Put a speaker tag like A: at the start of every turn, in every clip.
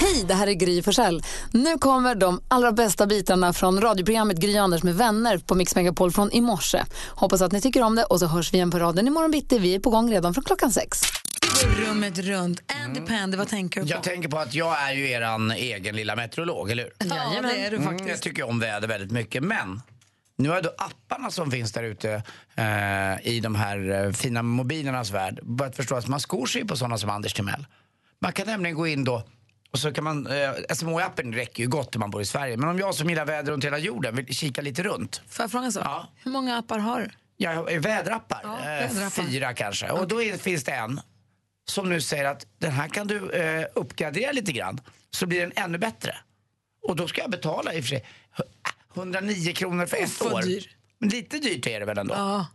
A: Hej, det här är Gry Forssell. Nu kommer de allra bästa bitarna från radioprogrammet Gry Anders med vänner på Mix Megapol från i morse. Hoppas att ni tycker om det och så hörs vi igen på raden imorgon bitti. Vi är på gång redan från klockan sex. Rummet runt. Andy Pandy, vad tänker du på?
B: Jag tänker på att jag är ju eran egen lilla meteorolog, eller hur?
A: Jajamän. det är du
B: Mm, jag tycker om väder väldigt mycket, men nu har ju då apparna som finns där ute eh, i de här eh, fina mobilernas värld börjat förstå att man skor sig på sådana som Anders Timell. Man kan nämligen gå in då och så kan man, eh, SMHI-appen räcker ju gott om man bor i Sverige, men om jag som gillar väder runt hela jorden vill kika lite runt.
A: Får jag fråga en sak? Hur många appar har du?
B: Jag har väderappar, eh,
A: väderappar.
B: fyra kanske. Och då är, finns det en som nu säger att den här kan du eh, uppgradera lite grann så blir den ännu bättre. Och då ska jag betala i och för sig hu- 109 kronor för ett
C: vad
B: år.
C: dyr.
B: Men lite dyrt är det väl ändå?
A: Ja.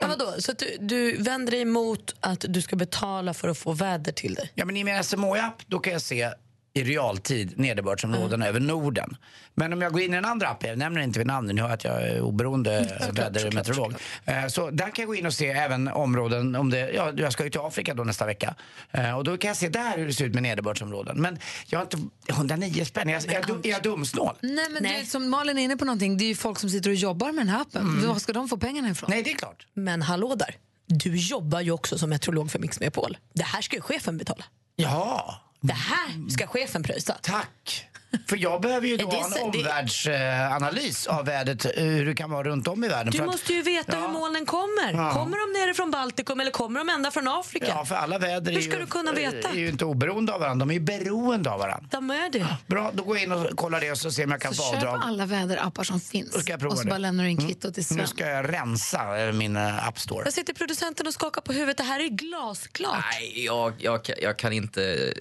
C: Ja, vadå? Så att du, du vänder dig emot att du ska betala för att få väder till dig?
B: Ja, men i min SMHI-app då kan jag se i realtid
C: Mm.
B: nederbördsområdena över Norden. Men om jag går in i den andra appen, jag nämner inte vid namn, ni hör att jag är
C: Mm,
B: oberoende vädermeteorolog. Eh, Så där kan jag gå in och se även områden, om det, ja, jag ska ju till Afrika då nästa vecka. Eh, Och då kan jag se där hur det ser ut med nederbördsområden. Men jag har inte, 109 spänn, är jag, är jag, dum- är jag dumsnål?
A: Nej, men
C: Nej.
A: Det, är som Malin är inne på någonting, det är ju folk som sitter och jobbar med den här appen.
B: Mm.
A: Var ska de få pengarna ifrån?
B: Nej, det är klart.
C: Men hallå där, du jobbar ju också som meteorolog för Mix Megapol. Det här ska ju chefen betala.
B: Ja,
C: Det här ska chefen pröjsa.
B: tack. För jag behöver ju då
C: Det är
B: ha en
C: så- det-
B: omvärldsanalys av vädret, eh, hur det kan vara runt om i världen.
C: Du
B: För att-
C: måste ju veta hur molnen kommer. Kommer de nere från Baltikum eller kommer de ända från Afrika?
B: Ja, för alla väder
C: Hur ska
B: är, ju,
C: du kunna veta?
B: är ju inte oberoende av varandra, de är ju beroende av varandra.
C: De är det.
B: Bra, då går jag in och kollar det och så ser om jag kan
A: Så
B: få
A: köp
B: avdrag.
A: alla väderappar som finns
B: Då ska jag prova
A: och så
B: det. Mm.
A: bara lämnar du in kvittot till
B: Nu
A: Sven.
B: ska jag rensa eh, min eh, app store.
C: Där sitter producenten och skakar på huvudet. Det här är glasklart.
D: Nej, jag, jag, kan- jag kan inte...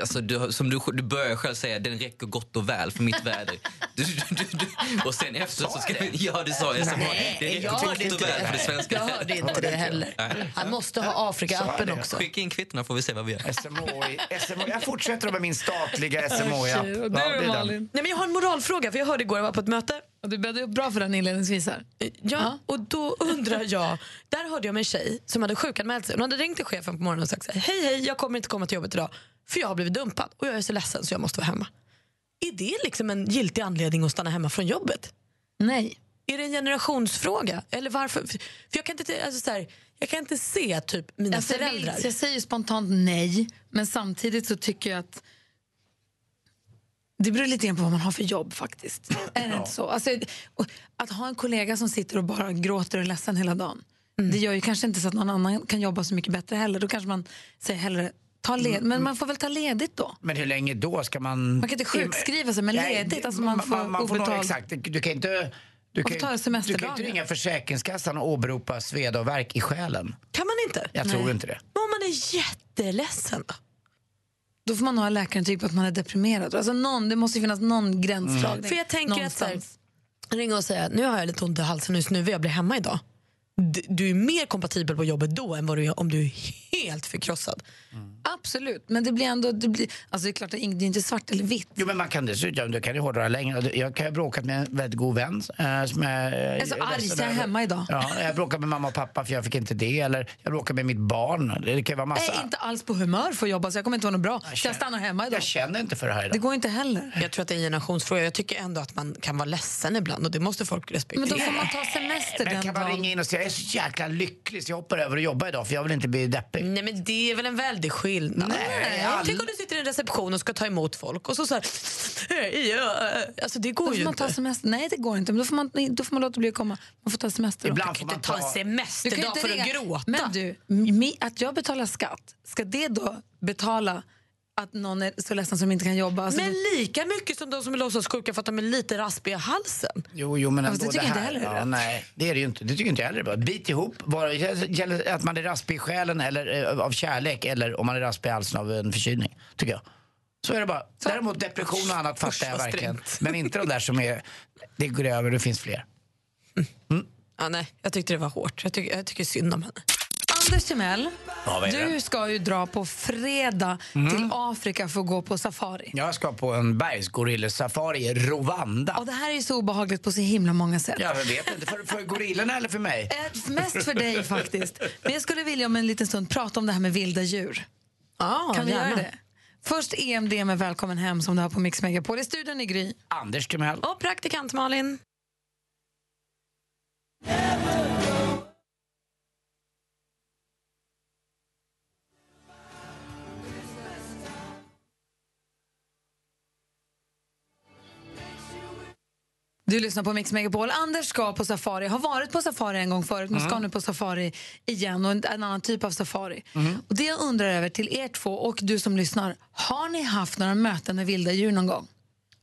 D: Alltså, du, som du, du börjar själv säga, den räcker gott och väl för mitt väder. Du, du, du, du, och sen efter så ska jag... Ja, det sa jag. Så bara,
C: Nej,
D: det räcker
C: jag hörde
D: gott
C: inte
D: och väl för det
C: det.
D: svenska
C: Jag hörde
D: vädret.
C: inte det heller. Han måste ha Afrika-appen också.
D: Skicka in kvittona får vi se vad vi gör.
B: SMHI, SMHI. Jag fortsätter med min statliga SMHI-app.
A: Tjej, och
B: det
A: du
B: är den.
A: Malin,
C: Nej, men jag har en moralfråga, för jag hörde igår, jag var på ett möte.
A: och du bäddade upp bra för den inledningsvis här.
C: Ja, och då undrar jag, där hörde jag om en tjej som hade sjukanmält sig. Hon hade ringt till chefen på morgonen och sagt så här, hej hej, jag kommer inte komma till jobbet idag för jag har blivit dumpad och jag är så ledsen så jag måste vara hemma. Är det liksom en giltig anledning att stanna hemma från jobbet?
A: Nej.
C: Är det en generationsfråga? Eller varför? För jag kan inte, t- alltså så här, jag kan inte se typ mina
A: Alltså, jag, vill,
C: föräldrar.
A: jag säger spontant nej, men samtidigt så tycker jag att det beror lite grann på vad man har för jobb faktiskt. Är det inte så? Alltså, och att ha en kollega som sitter och bara gråter och är ledsen hela dagen, det gör ju kanske inte så att någon annan kan jobba så mycket bättre heller. Då kanske man säger hellre ta led,
B: Mm.
A: men man får väl ta ledigt då.
B: Men hur länge då ska man...
A: Man kan inte sjukskriva sig, men
B: Nej,
A: ledigt, alltså man får
B: nog-
A: obetalt.
B: Exakt, du kan inte... Du
A: får
B: kan,
A: ta
B: ju- du kan
A: semesterdagar.
B: inte ringa Försäkringskassan och åberopa sveda och värk i själen.
C: Kan man inte?
B: Jag tror inte det.
C: Men om man är jätteledsen då?
A: Då får man ha läkarintyg på att man är deprimerad. Alltså någon, det måste ju finnas någon gränsdragning.
C: Mm. För jag tänker
A: någonstans.
C: att så här, ringa och säga nu har jag lite ont i halsen och nu vill jag bli hemma idag. D- Du är mer kompatibel på jobbet då än vad du är om du är helt förkrossad.
A: Absolut, men det blir ändå... Det, blir, alltså det är klart, det är ing- det är inte svart eller vitt.
B: Jo men man kan dessutom, du kan ju hårdra längre. Jag kan ju ha bråkat med en väldigt god vän. Eh, som jag, eh,
A: så
B: är
A: arg,
B: ledsen
A: så jag är
B: över.
A: hemma idag.
B: Ja, jag bråkade med mamma och pappa för jag fick inte det. Eller jag bråkade med mitt barn. Det kan ju vara massa.
A: Jag
C: Alltså-
A: är inte alls på humör för att jobba så jag kommer inte vara något bra. Så jag stannar hemma idag.
B: Jag känner inte för det här
A: Det
B: idag.
A: går inte heller.
C: Jag tror att det är en generationsfråga. Jag tycker ändå att man kan vara ledsen ibland och det måste folk respektera.
A: Men då får man ta semester
B: Men
A: den
B: kan man
A: dagen.
B: ringa in och säga jag är så jäkla lycklig så jag hoppar över och jobbar idag för jag vill inte bli deppig.
C: Nej men det är väl en väldig skillnad.
B: Nej, all-
C: Tänk om du sitter i en reception och ska ta emot folk och så såhär, ja, alltså det
A: Då
C: går
A: får
C: ju
A: man ta
C: inte.
A: semester. Nej, det går inte. Men då får man, nej, då får man låta bli att komma. Man får ta semester. då.
B: Ibland får
C: Du
B: man
C: tar
B: ta...
C: en
A: Du kan ju
C: semesterdag
A: inte
C: för att
A: ringa.
C: gråta.
A: Men du, mi- att jag betalar skatt, ska det då betala att någon är så ledsen som inte kan jobba? Alltså,
C: Men lika mycket som de som är låtsassjuka för att de är lite raspiga i halsen.
B: Jo, jo men
A: Fast
B: ändå
A: det tycker
B: här.
A: inte heller är
B: ja,
A: rätt.
B: Nej, det är det ju inte. Det tycker inte jag heller är bra. Bit ihop. Bara, gäller att man är raspig i själen eller eh, av kärlek eller om man är raspig i halsen av en förkylning. Tycker jag. Så är det bara. Däremot depression och annat fattar jag verkligen. Men inte de där som är, det går över, det finns fler.
C: Ja, nej, jag tyckte det var hårt. Jag, tycker jag tycker synd om henne.
A: Anders Timell,
B: Ja, vad är det? Mhm.
A: du ska ju dra på fredag till Afrika för att gå på safari.
B: Jag ska på en bergsgorillesafari i Rwanda.
A: Och det här är ju så obehagligt på så himla många sätt.
B: Jag vet inte, för, för gorillorna eller för mig?
A: Eh, Mest för dig faktiskt. Men jag skulle vilja om en liten stund prata om det här med vilda djur.
C: Ja,
A: Kan vi
C: gärna.
A: göra det? Först EMD med Välkommen hem som du har på Mix Megapol. I studion i Gry.
B: Anders Timell.
C: Och praktikant Malin.
A: Du lyssnar på Mix Megapol. Anders ska på safari. Har varit på safari en gång förut men ska nu på safari igen och en, en annan typ av safari. Och Det jag undrar över till er två och du som lyssnar. Har ni haft några möten med vilda djur någon gång?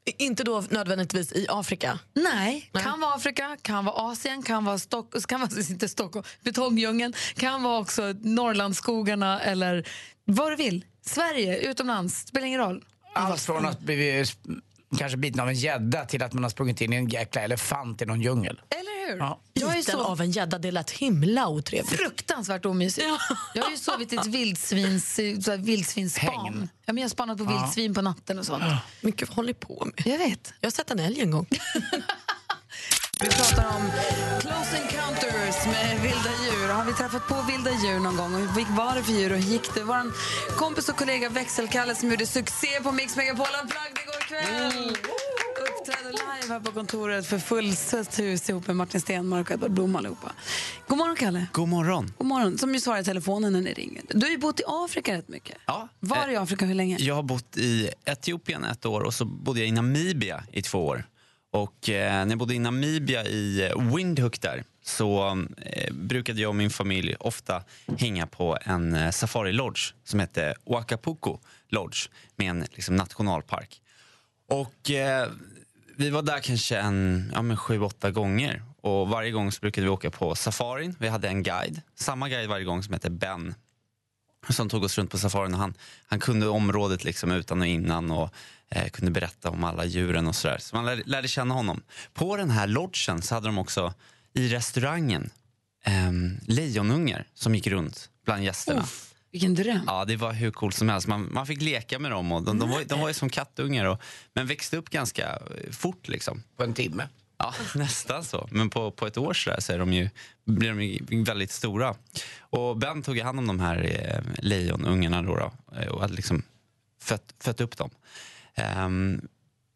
C: I- Inte då nödvändigtvis i Afrika.
A: Nej, kan vara Afrika, kan vara Asien, kan vara, Stock- kan vara inte Stockholm, betongdjungeln, kan vara också Norrlandsskogarna eller vad du vill. Sverige, utomlands, spelar ingen roll.
B: Allt från att bli eh, sp- kanske biten av en gädda till att man har sprungit in i en jäkla elefant i någon djungel.
A: Eller hur?
B: Ja.
A: Jag är
C: Biten
A: så
C: av en gädda, det lät himla otrevligt.
A: fruktansvärt omysigt. Jag har ju sovit i ett vildsvins, så här vildsvinsspan.
B: Hägn.
A: Ja, men jag har spanat på vildsvin på natten och sånt.
C: Men gud, vad håller ni på med?
A: Jag vet.
C: Jag har sett en älg en gång.
A: Vi pratar om Close Encounters med vilda djur. Har vi träffat på vilda djur någon gång? Och Vilka var det för djur och hur gick det? Vår kompis och kollega Växelkalle som gjorde succé på Mix Megapol han bragd igår kväll. Uppträdde live här på kontoret för fullsatt hus ihop med Martin Stenmark och Edward Blom allihopa. God morgon Kalle.
E: God morgon.
A: God morgon, som ju svarar i telefonen när ni ringer. Du har ju bott i Afrika rätt mycket.
E: Ja.
A: Var i Afrika hur länge?
E: Jag har bott i Etiopien ett år och så bodde jag i Namibia i två år. Och eh, när jag bodde i Namibia i eh, Windhoek där så eh, brukade jag och min familj ofta hänga på en eh, safari-lodge som hette Wakapuku Lodge med en liksom, nationalpark. Och eh, vi var där kanske en ja, men sju, åtta gånger. Och varje gång så brukade vi åka på safarin. Vi hade en guide, samma guide varje gång som hette Ben som tog oss runt på safarin. Och han, han kunde området liksom utan och innan och eh, kunde berätta om alla djuren och sådär. Så man lärde, lärde känna honom. På den här lodgen så hade de också i restaurangen eh, lejonungar som gick runt bland gästerna.
A: Vilken dröm.
E: Ja, det var hur coolt som helst. Man, man fick leka med dem och de, de, var, ju- de var ju som kattungar och, men växte upp ganska eh, fort liksom.
B: På en timme.
E: Ja, nästan så. Men på, på ett år så, där så är de ju, blir de ju väldigt stora. Och Ben tog ju hand om de här eh, lejonungarna då, då, eh, och hade liksom fött, fött upp dem. Ehm,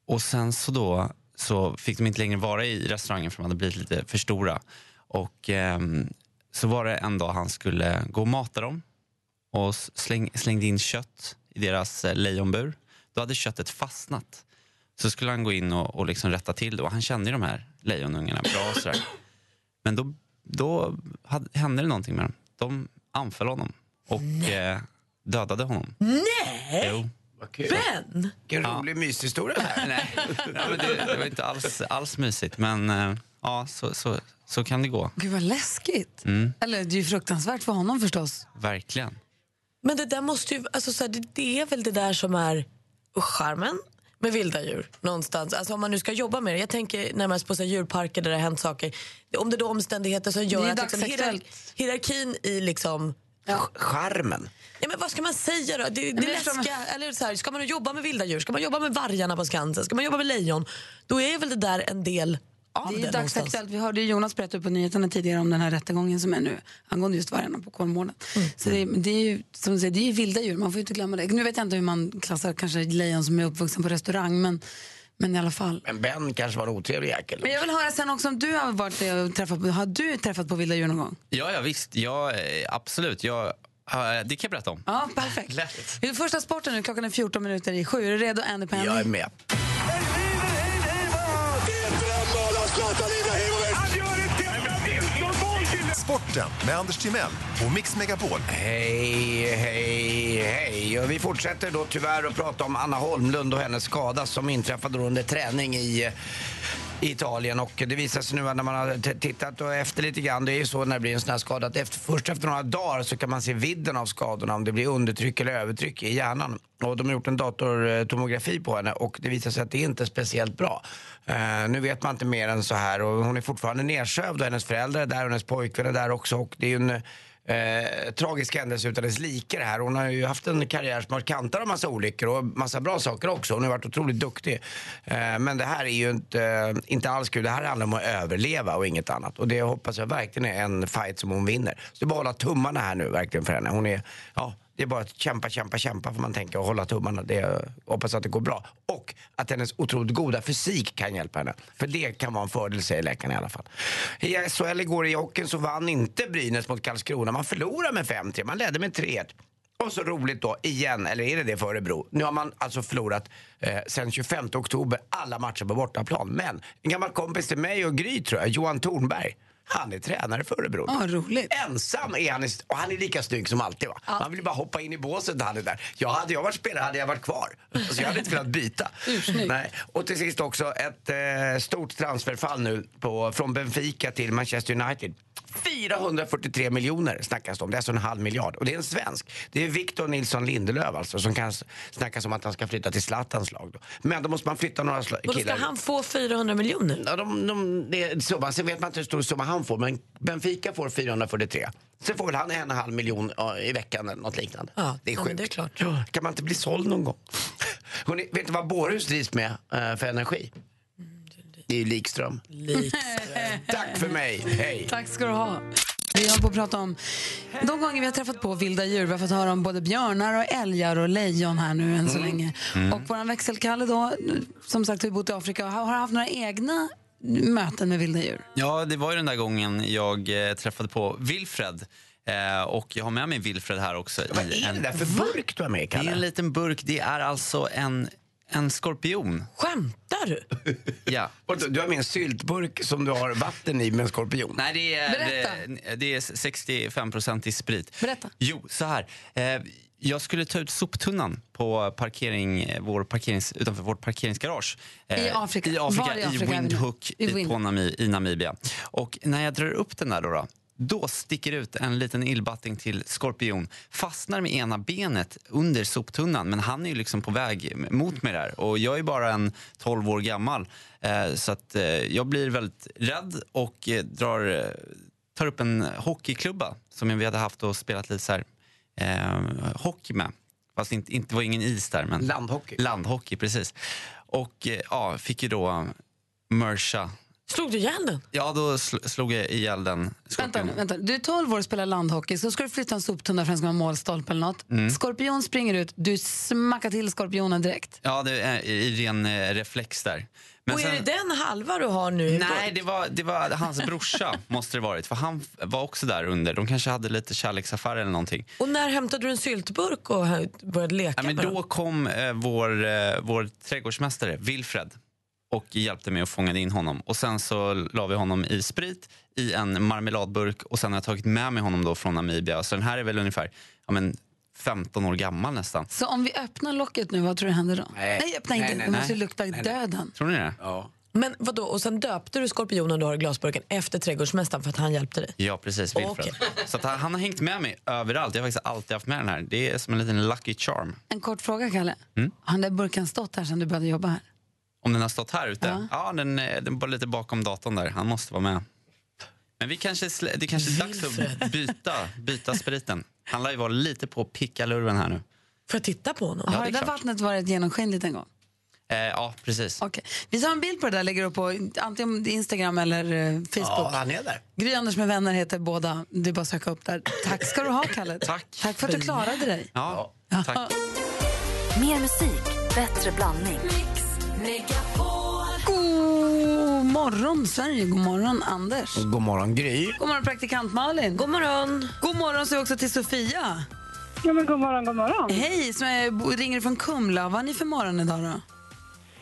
E: och sen så då så fick de inte längre vara i restaurangen för de hade blivit lite för stora. Och ehm, så var det en dag han skulle gå och mata dem och s- släng, slängde in kött i deras eh, lejonbur. Då hade köttet fastnat. Så skulle han gå in och, och liksom rätta till det. Och han kände ju de här lejonungarna bra. Och sådär. Men då, då hade, hände det någonting med dem. De anföll honom och eh, dödade honom. Nej! Jo.
B: Vad kul.
C: Ben!
B: Vilken rolig myshistoria det här.
E: Nej. Ja, men det, det var inte alls, alls mysigt. Men eh, ja, så, så, så kan det gå.
A: Gud vad läskigt. Eller det är ju fruktansvärt för honom förstås.
E: Verkligen.
C: Men det där måste ju, alltså så här, det, det är väl det där som är charmen med vilda djur någonstans. Alltså om man nu ska jobba med det. Jag tänker närmast på så här, djurparker där det har hänt saker. Om det då är omständigheter som
A: Det
C: gör
A: är
C: att liksom,
A: dagsaktuellt.
C: hierar- hierarkin i liksom
B: Charmen.
C: Ja, men vad ska man säga då? Det, det
A: jag förstår
C: läskiga, eller så här, ska man jobba med vilda djur? Ska man jobba med vargarna på Skansen? Ska man jobba med lejon? Då är väl det där en del av
A: Det
C: det,
A: är ju
C: någonstans.
A: dagsaktuellt. Vi hörde ju Jonas berätta på nyheterna tidigare om den här rättegången som är nu angående just vargarna på Kolmården. Så det, det är ju som du säger, det är ju vilda djur, man får ju inte glömma det. Nu vet jag inte hur man klassar kanske lejon som är uppvuxen på restaurang, men, men i alla fall.
B: Men Ben kanske var en otrevlig jäkel.
A: Men jag vill höra sen också om du har varit det och träffat, har du träffat på vilda djur någon gång?
E: Ja, ja visst. Ja, eh, absolut. Jag, eh, det kan jag berätta om.
A: Ja, perfekt. Det är första sporten nu, klockan är 14 minuter i sju. Är du redo, Andy Penny?
B: Jag är med.
F: Sporten med Anders Timell och Mix Megapol.
B: Hej, hej, hej. Och vi fortsätter då tyvärr att prata om Anna Holmlund och hennes skada som inträffade då under träning i i Italien. Och det visar sig nu att när man har t- tittat och efter lite grann, det är ju så när det blir en sån här skada att efter, först efter några dagar så kan man se vidden av skadorna, om det blir undertryck eller övertryck i hjärnan. Och de har gjort en datortomografi på henne och det visar sig att det inte är speciellt bra. Eh, nu vet man inte mer än så här och hon är fortfarande nedsövd och hennes föräldrar är där och hennes pojkvän är där också. Och det är ju en, eh, tragisk händelse utan dess like det här. Hon har ju haft en karriär som har kantat av massa olyckor och massa bra saker också. Hon har varit otroligt duktig. Eh, men det här är ju inte, eh, inte alls kul. Det här handlar om att överleva och inget annat. Och det hoppas jag verkligen är en fight som hon vinner. Så det är bara att hålla tummarna här nu verkligen för henne. Hon är, ja, det är bara att kämpa, kämpa, kämpa får man tänka och hålla tummarna. Det, jag hoppas att det går bra. Och att hennes otroligt goda fysik kan hjälpa henne. För det kan vara en fördel säger läkaren i alla fall. I SHL igår i hockeyn så vann inte Brynäs mot Karlskrona. Man förlorade med 5-3, man ledde med 3-1. Och så roligt då, igen, eller är det det för Örebro? Nu har man alltså förlorat eh, sen 25 oktober alla matcher på bortaplan. Men en gammal kompis till mig och Gry tror jag, Johan Tornberg, han är tränare för Örebro.
A: Ja, roligt.
B: Ensam är han, i st- och han är lika snygg som alltid. Va? Man vill bara hoppa in i båset när han är där. Jag, hade jag varit spelare hade jag varit kvar. Så jag hade inte velat byta. Nej. Och till sist också ett eh, stort transferfall nu på, från Benfica till Manchester United. 443 miljoner snackas det om. Det är alltså en halv miljard. Och det är en svensk. Det är Victor Nilsson Lindelöf alltså som kan s- snackas om att han ska flytta till Zlatans lag. Då. Men då måste man flytta några sla-
C: Och då ska
B: killar.
C: han få 400 miljoner?
B: Ja, de, de, det är summan. Sen vet man inte hur stor summa han får, men Benfica får 443. Sen får väl han en och en halv miljon ja, i veckan eller något liknande.
C: Ja,
B: det är
C: ja,
B: sjukt.
C: men det är klart.
B: Ja, kan man inte bli såld någon gång? Hörrni, vet du vad Borhus drivs med eh, för energi?
C: Mm,
B: Det är ju Likström. Tack för mig. Hej.
A: Tack ska du ha. Vi har på att prata om de gånger vi har träffat på vilda djur. Vi har fått höra om både björnar och älgar och lejon här nu än så
B: Mm.
A: länge. Och vår växelkalle då, som sagt har vi bott i Afrika och har har haft några egna möten med vilda djur.
E: Ja, det var ju den där gången jag eh, träffade på Wilfred. Eh, och jag har med mig Wilfred här också.
B: Vad
E: i
B: är
E: en,
B: det där för burk du har med,
E: det är en
B: Kalle?
E: liten burk. Det är alltså en, en skorpion.
C: Skämtar du?
E: Ja.
B: Och du- Du har med en syltburk som du har vatten i med en skorpion.
E: Nej, det är,
A: Berätta.
E: det, det är 65 i sprit.
A: Berätta.
E: Jo, så här. Eh, jag skulle ta ut soptunnan på parkering, eh, vår parkerings, utanför vårt parkeringsgarage. Eh,
A: I Afrika.
E: I, Afrika,
A: Var i
E: i,
A: Afrika är vi nu?
E: Windhook
A: I
E: i,
A: Wind-
E: på Nami, i Namibia. Och när jag drar upp den där då, då då sticker ut en liten illbatting till skorpion. Fastnar med ena benet under soptunnan, men han är ju liksom på väg mot mig där. Och jag är bara en 12 år gammal, eh, så att, eh, jag blir väldigt rädd och eh, drar, eh, tar upp en hockeyklubba som vi hade haft och spelat lite så här, eh, hockey med. Fast inte, inte det var ingen is där. Men
B: Landhockey.
E: landhockey, precis. Och eh, ja, fick ju då Mersha.
C: Slog du ihjäl den?
E: Ja, då sl- slog jag ihjäl den
A: Vänta, nu,
E: skorpionen.
A: vänta. Du är 12 år och spelar landhockey, så ska du flytta en soptunna för den ska vara målstolpe eller något.
B: Mm.
A: Skorpion springer ut, du smackar till skorpionen direkt.
E: Ja, det är i ren eh, reflex där. Men
C: Och är det
E: sen-
C: den halva du har nu? i
E: Nej,
C: burk?
E: det var, det var hans brorsa måste det varit. För han f- var också där under. De kanske hade lite kärleksaffär eller någonting.
C: Och när hämtade du en syltburk och här- började leka
E: Ja, men
C: med den?
E: då kom eh, vår, eh, vår trädgårdsmästare Wilfred och hjälpte mig att fånga in honom. Och Sen så la vi honom i sprit i en marmeladburk och sen har jag tagit med mig honom då från Namibia. Så den här är väl ungefär ja, men 15 år gammal nästan.
A: Så om vi öppnar locket nu, vad tror du händer då?
B: Nej.
A: öppna inte.
B: Nej, nej,
A: det måste
E: nej.
A: lukta döden.
E: Tror ni det?
B: Ja.
C: Men vadå, och sen döpte du skorpionen du har i glasburken efter trädgårdsmästaren för att han hjälpte dig?
E: Ja, precis. Wilfred.
C: Okej.
E: Så att han, han har hängt med mig överallt. Jag har faktiskt alltid haft med den här. Det är som en liten lucky charm.
A: En kort fråga, Kalle. Har den där burken stått här sedan du började jobba här?
E: Om den har stått här ute? Ja, den, eh, den var lite bakom datorn där. Han måste vara med. Men vi kanske, slä- det kanske är dags att byta, byta spriten. Han lär ju vara lite på pickalurven här nu.
C: Får jag titta på honom?
A: har
E: det
A: det
E: är
A: där
E: klart.
A: vattnet varit genomskinligt en gång?
E: Eh, ja, precis.
A: Okej. Vi tar en bild på det där lägger upp på antingen Instagram eller eh,
B: ja,
A: Facebook.
B: han är där.
A: Gry Anders med vänner heter båda. Det är bara att söka upp där. Tack ska du ha, Kalle.
E: Tack.
A: Tack för att du klarade dig.
E: Ja, tack.
G: Mer musik, bättre blandning.
A: God morgon, Sverige. God morgon, Anders.
B: God morgon, Gry.
A: God morgon, praktikant Malin. God morgon. God morgon säger vi också till Sofia.
H: Ja, men god morgon, god morgon.
A: Hej, som är, bo- ringer från Kumla. Vad har ni för morgon idag då?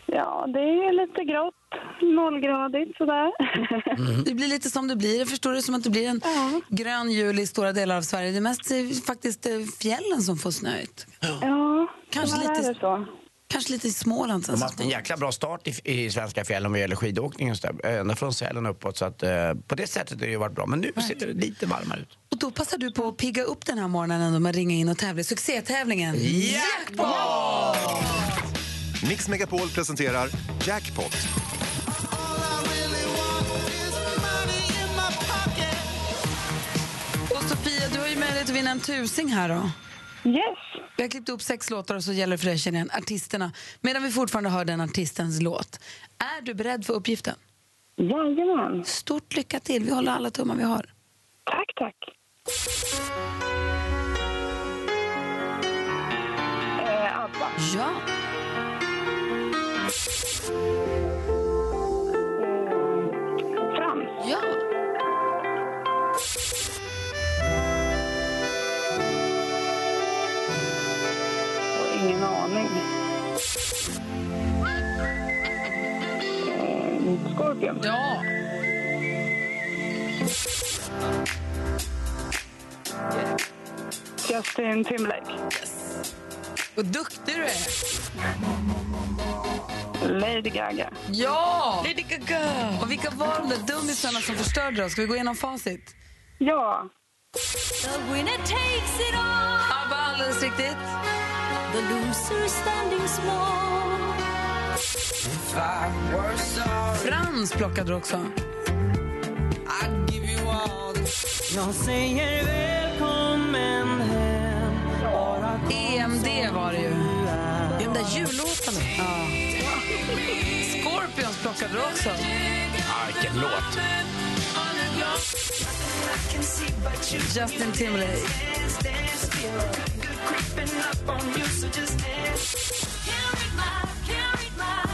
H: Ja, det är lite grått, nollgradigt sådär.
A: Mm. Det blir lite som det blir. Jag förstår det som att det blir en grön jul i stora delar av Sverige. Det är mest eh, faktiskt eh, fjällen som får snö ut.
H: Ja,
A: Kanske
H: tyvärr
A: lite-
H: är det så.
A: Kanske lite i Småland sen.
B: De har haft Alltså, en jäkla bra start i, i svenska fjällen vad gäller skidåkning och så där, ända från Sälen uppåt. Så att, eh, på det sättet har det ju varit bra. Men nu ser det lite varmare ut.
A: Och då passar du på att pigga upp den här morgonen ändå med att ringa in och tävla i succétävlingen.
F: Jackpot! Mix Megapol presenterar Jackpot.
A: Och Sofia, du har ju möjlighet att vinna en tusing här då.
H: Yes.
A: Vi har klippt upp sex låtar och så gäller det för dig att känna igen artisterna. Medan vi fortfarande hör den artistens låt. Är du beredd för uppgiften?
H: Jajamän.
A: Stort lycka till. Vi håller alla tummar vi har.
H: Tack, tack. Eh, Abba.
A: Ja.
H: Frans.
A: Ja.
H: Och ingen aning. Eh, Scorpion.
A: Ja.
H: Justin Timberlake.
A: Vad duktig du är.
H: Lady Gaga.
A: Ja! Lady Gaga! Och vilka var de där dummisarna som förstörde oss? Ska vi gå igenom facit?
H: Ja.
A: ABBA, alldeles riktigt. Frans plockade du också. EMD E var det ju.
C: Ja, de där jullåtarna.
A: Ja. Scorpions plockade du också.
B: Ah, vilken låt!
A: Justin Timberlake.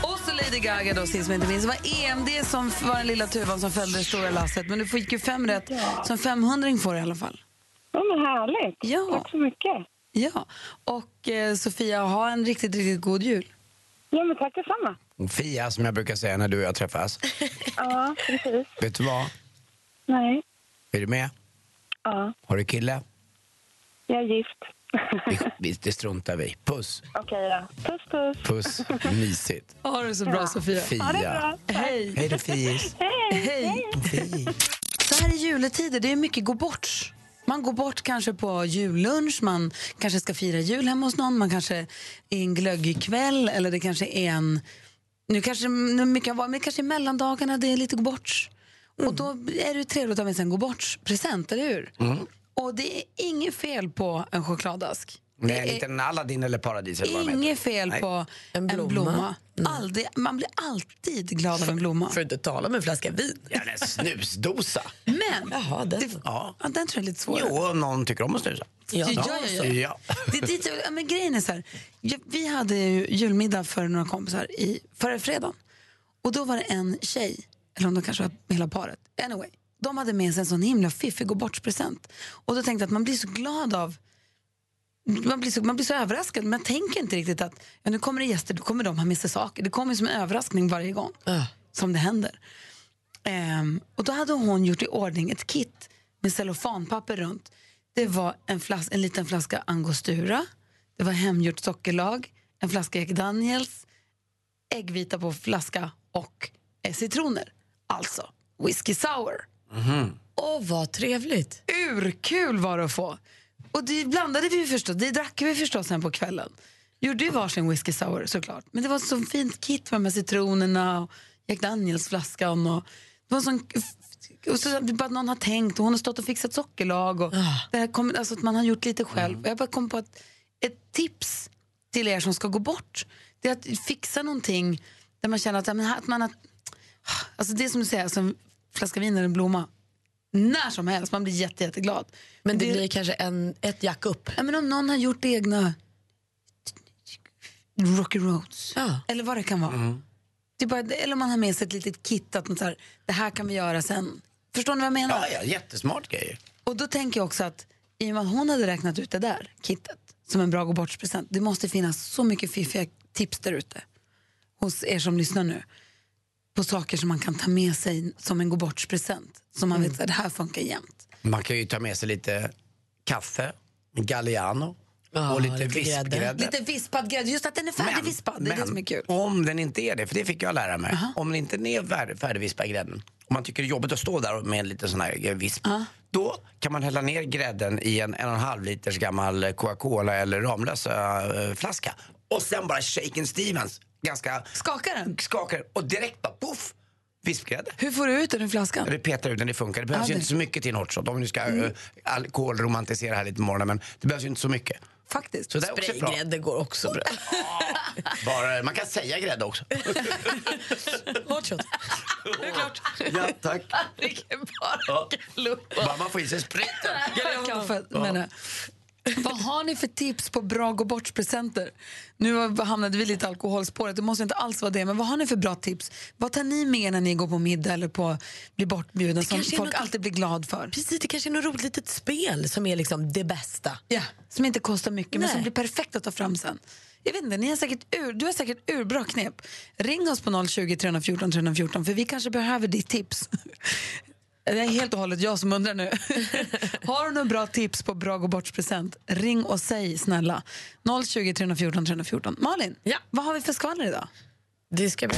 A: Och så Lady Gaga då sist men inte minst. Det var EMD som f- var den lilla tuvan som följde det stora lasset. Men du fick ju fem rätt, som 500 får du i alla fall.
H: Ja, men härligt.
A: Ja.
H: Tack så mycket.
A: Ja, och eh, Sofia, ha en riktigt, riktigt god jul.
H: Ja, men tack detsamma.
B: Fia, som jag brukar säga när du och jag träffas.
H: Ja, precis.
B: Vet du vad?
H: Nej.
B: Är du med?
H: Ja,
B: Har du kille?
H: jag är gift.
B: Vi, vi, det struntar vi i. Puss,
H: Okej då. Puss, puss.
B: puss. Mysigt.
A: Ha det så bra, Sofia.
B: Fia.
H: Ha det bra.
A: Hej.
B: Hej då, Fiis.
H: Hej.
A: Hej. Så här i juletider, det är mycket gå bort. Man går bort kanske på jullunch, man kanske ska fira jul hemma hos någon, man kanske är en glöggig kväll eller det kanske är en... Nu kanske nu mycket har varit, men kanske i mellandagarna det är lite gå bort. Och då är det ju trevligt att ha med sig en gå bort-present, eller hur? Och det är inget fel på en chokladask.
B: Nej, en liten Aladdin eller Paradis eller vad de heter.
A: Inget fel på en blomma.
C: blomma.
A: Aldrig, man blir alltid glad av en blomma.
C: För att inte tala om en flaska vin.
B: Jävla snusdosa.
A: Men
C: Jaha, den.
A: det, Mm. ja. den tror jag är lite svårare.
B: Jo, om någon tycker om att snusa.
A: Ja, ja, ja, ja.
B: Ja.
A: Det är dit, jag- ja, men grejen är så här. Jag- Vi hade ju julmiddag för några kompisar i, förra fredagen. Och då var det en tjej, eller om det kanske var hela paret. Anyway, de hade med sig en sån himla fiffig gå bort-present. Och då tänkte jag att man blir så glad av man blir, så, man blir så överraskad, men jag tänker inte riktigt att ja, nu kommer det gäster, då kommer de ha med sig saker. Det kommer ju som en överraskning varje gång som det händer. Ehm, och då hade hon gjort i ordning ett kit med cellofanpapper runt. Det var en, flas- en liten flaska angostura, det var hemgjort sockerlag, en flaska Jack Daniels, äggvita på flaska och eh, citroner. Alltså whisky sour.
C: Åh, vad trevligt.
A: Urkul var det att få! Och det blandade vi ju förstås, det drack vi förstås sen på kvällen. Gjorde ju varsin whisky sour såklart. Men det var ett så fint kit med de här citronerna och Jack Daniels-flaskan. Och det var en sån... Och så bara att någon har tänkt och hon har stått och fixat sockerlag. Och det här kom, alltså att man har gjort lite själv. Och Jag bara kom på ett, ett tips till er som ska gå bort. Det är att fixa någonting där man känner att, ja, men här- att man har... Alltså det är som du säger, alltså en flaska vin eller en blomma när som helst. Man blir jätte, jätteglad.
C: Men det blir kanske en, ett jack upp.
A: ja, men om någon har gjort egna Rocky Roads
C: Ja.
A: eller vad det kan vara. Det är bara, eller om man har med sig ett litet kit att man så här, det här kan vi göra sen. Förstår ni vad jag menar?
B: Ja, ja, jättesmart grej.
A: Och då tänker jag också att i och med att hon hade räknat ut det där kittet som en bra gå bort-present. Det måste finnas så mycket fiffiga tips där ute hos er som lyssnar nu på saker som man kan ta med sig som en gå bort-present. Som
B: Mm.
A: man vet att det här funkar jämt.
B: Man kan ju ta med sig lite kaffe, en Galliano, och lite
A: lite grädde.
B: vispgrädde.
A: Lite vispad grädde. Just att den är färdigvispad. Det är det som är kul.
B: om den inte är det, för det fick jag lära mig, om den inte är färdig, färdigvispad grädden, om man tycker det är jobbigt att stå där med en liten sån här eh, visp, då kan man hälla ner grädden i en en och en halv liters gammal Coca-Cola eller Ramlösa-flaska. Och sen bara shaken Stevens, ganska...
A: Skakar den?
B: Skakar den. och direkt bara poff! Vispgrädde.
A: Hur får du ut den ur flaskan?
B: Det petar ut den, det funkar. Det behövs
A: Ja,
B: ju
A: det-
B: inte så mycket till en hot shot. Om vi nu ska
A: Mm.
B: mm. alkoholromantisera här lite på morgonen, men det behövs ju inte så mycket.
A: Faktiskt.
B: Så det är också bra.
C: Spraygrädde går också bra.
B: Bara, man kan säga grädde också.
C: Hårt shot. Det är klart.
B: Ja, tack.
C: Vilken bra
B: Ja.
C: klubba.
B: Bara man får i sig spriten.
A: Kaffe, menar jag. Vad har ni för tips på bra gå bort-presenter? Nu har- hamnade vi lite i alkoholspåret, det måste inte alls vara det. Men vad har ni för bra tips? Vad tar ni med er när ni går på middag eller på, blir bortbjuden som
C: kanske är
A: folk
C: något-
A: alltid blir glad för?
C: Precis, det kanske är något roligt litet spel som är liksom det bästa.
A: Ja, som inte kostar mycket men
C: Nej.
A: som blir perfekt att ta fram sen. Jag vet inte, ni har säkert ur, du har säkert urbra knep. Ring oss på 020 314 314 för vi kanske behöver ditt tips. Det är helt och hållet jag som undrar nu. Har du några bra tips på bra gå bort-present? Ring och säg snälla. 020 314 314. Malin, ja. vad har vi för skvaller idag?
C: Det ska vi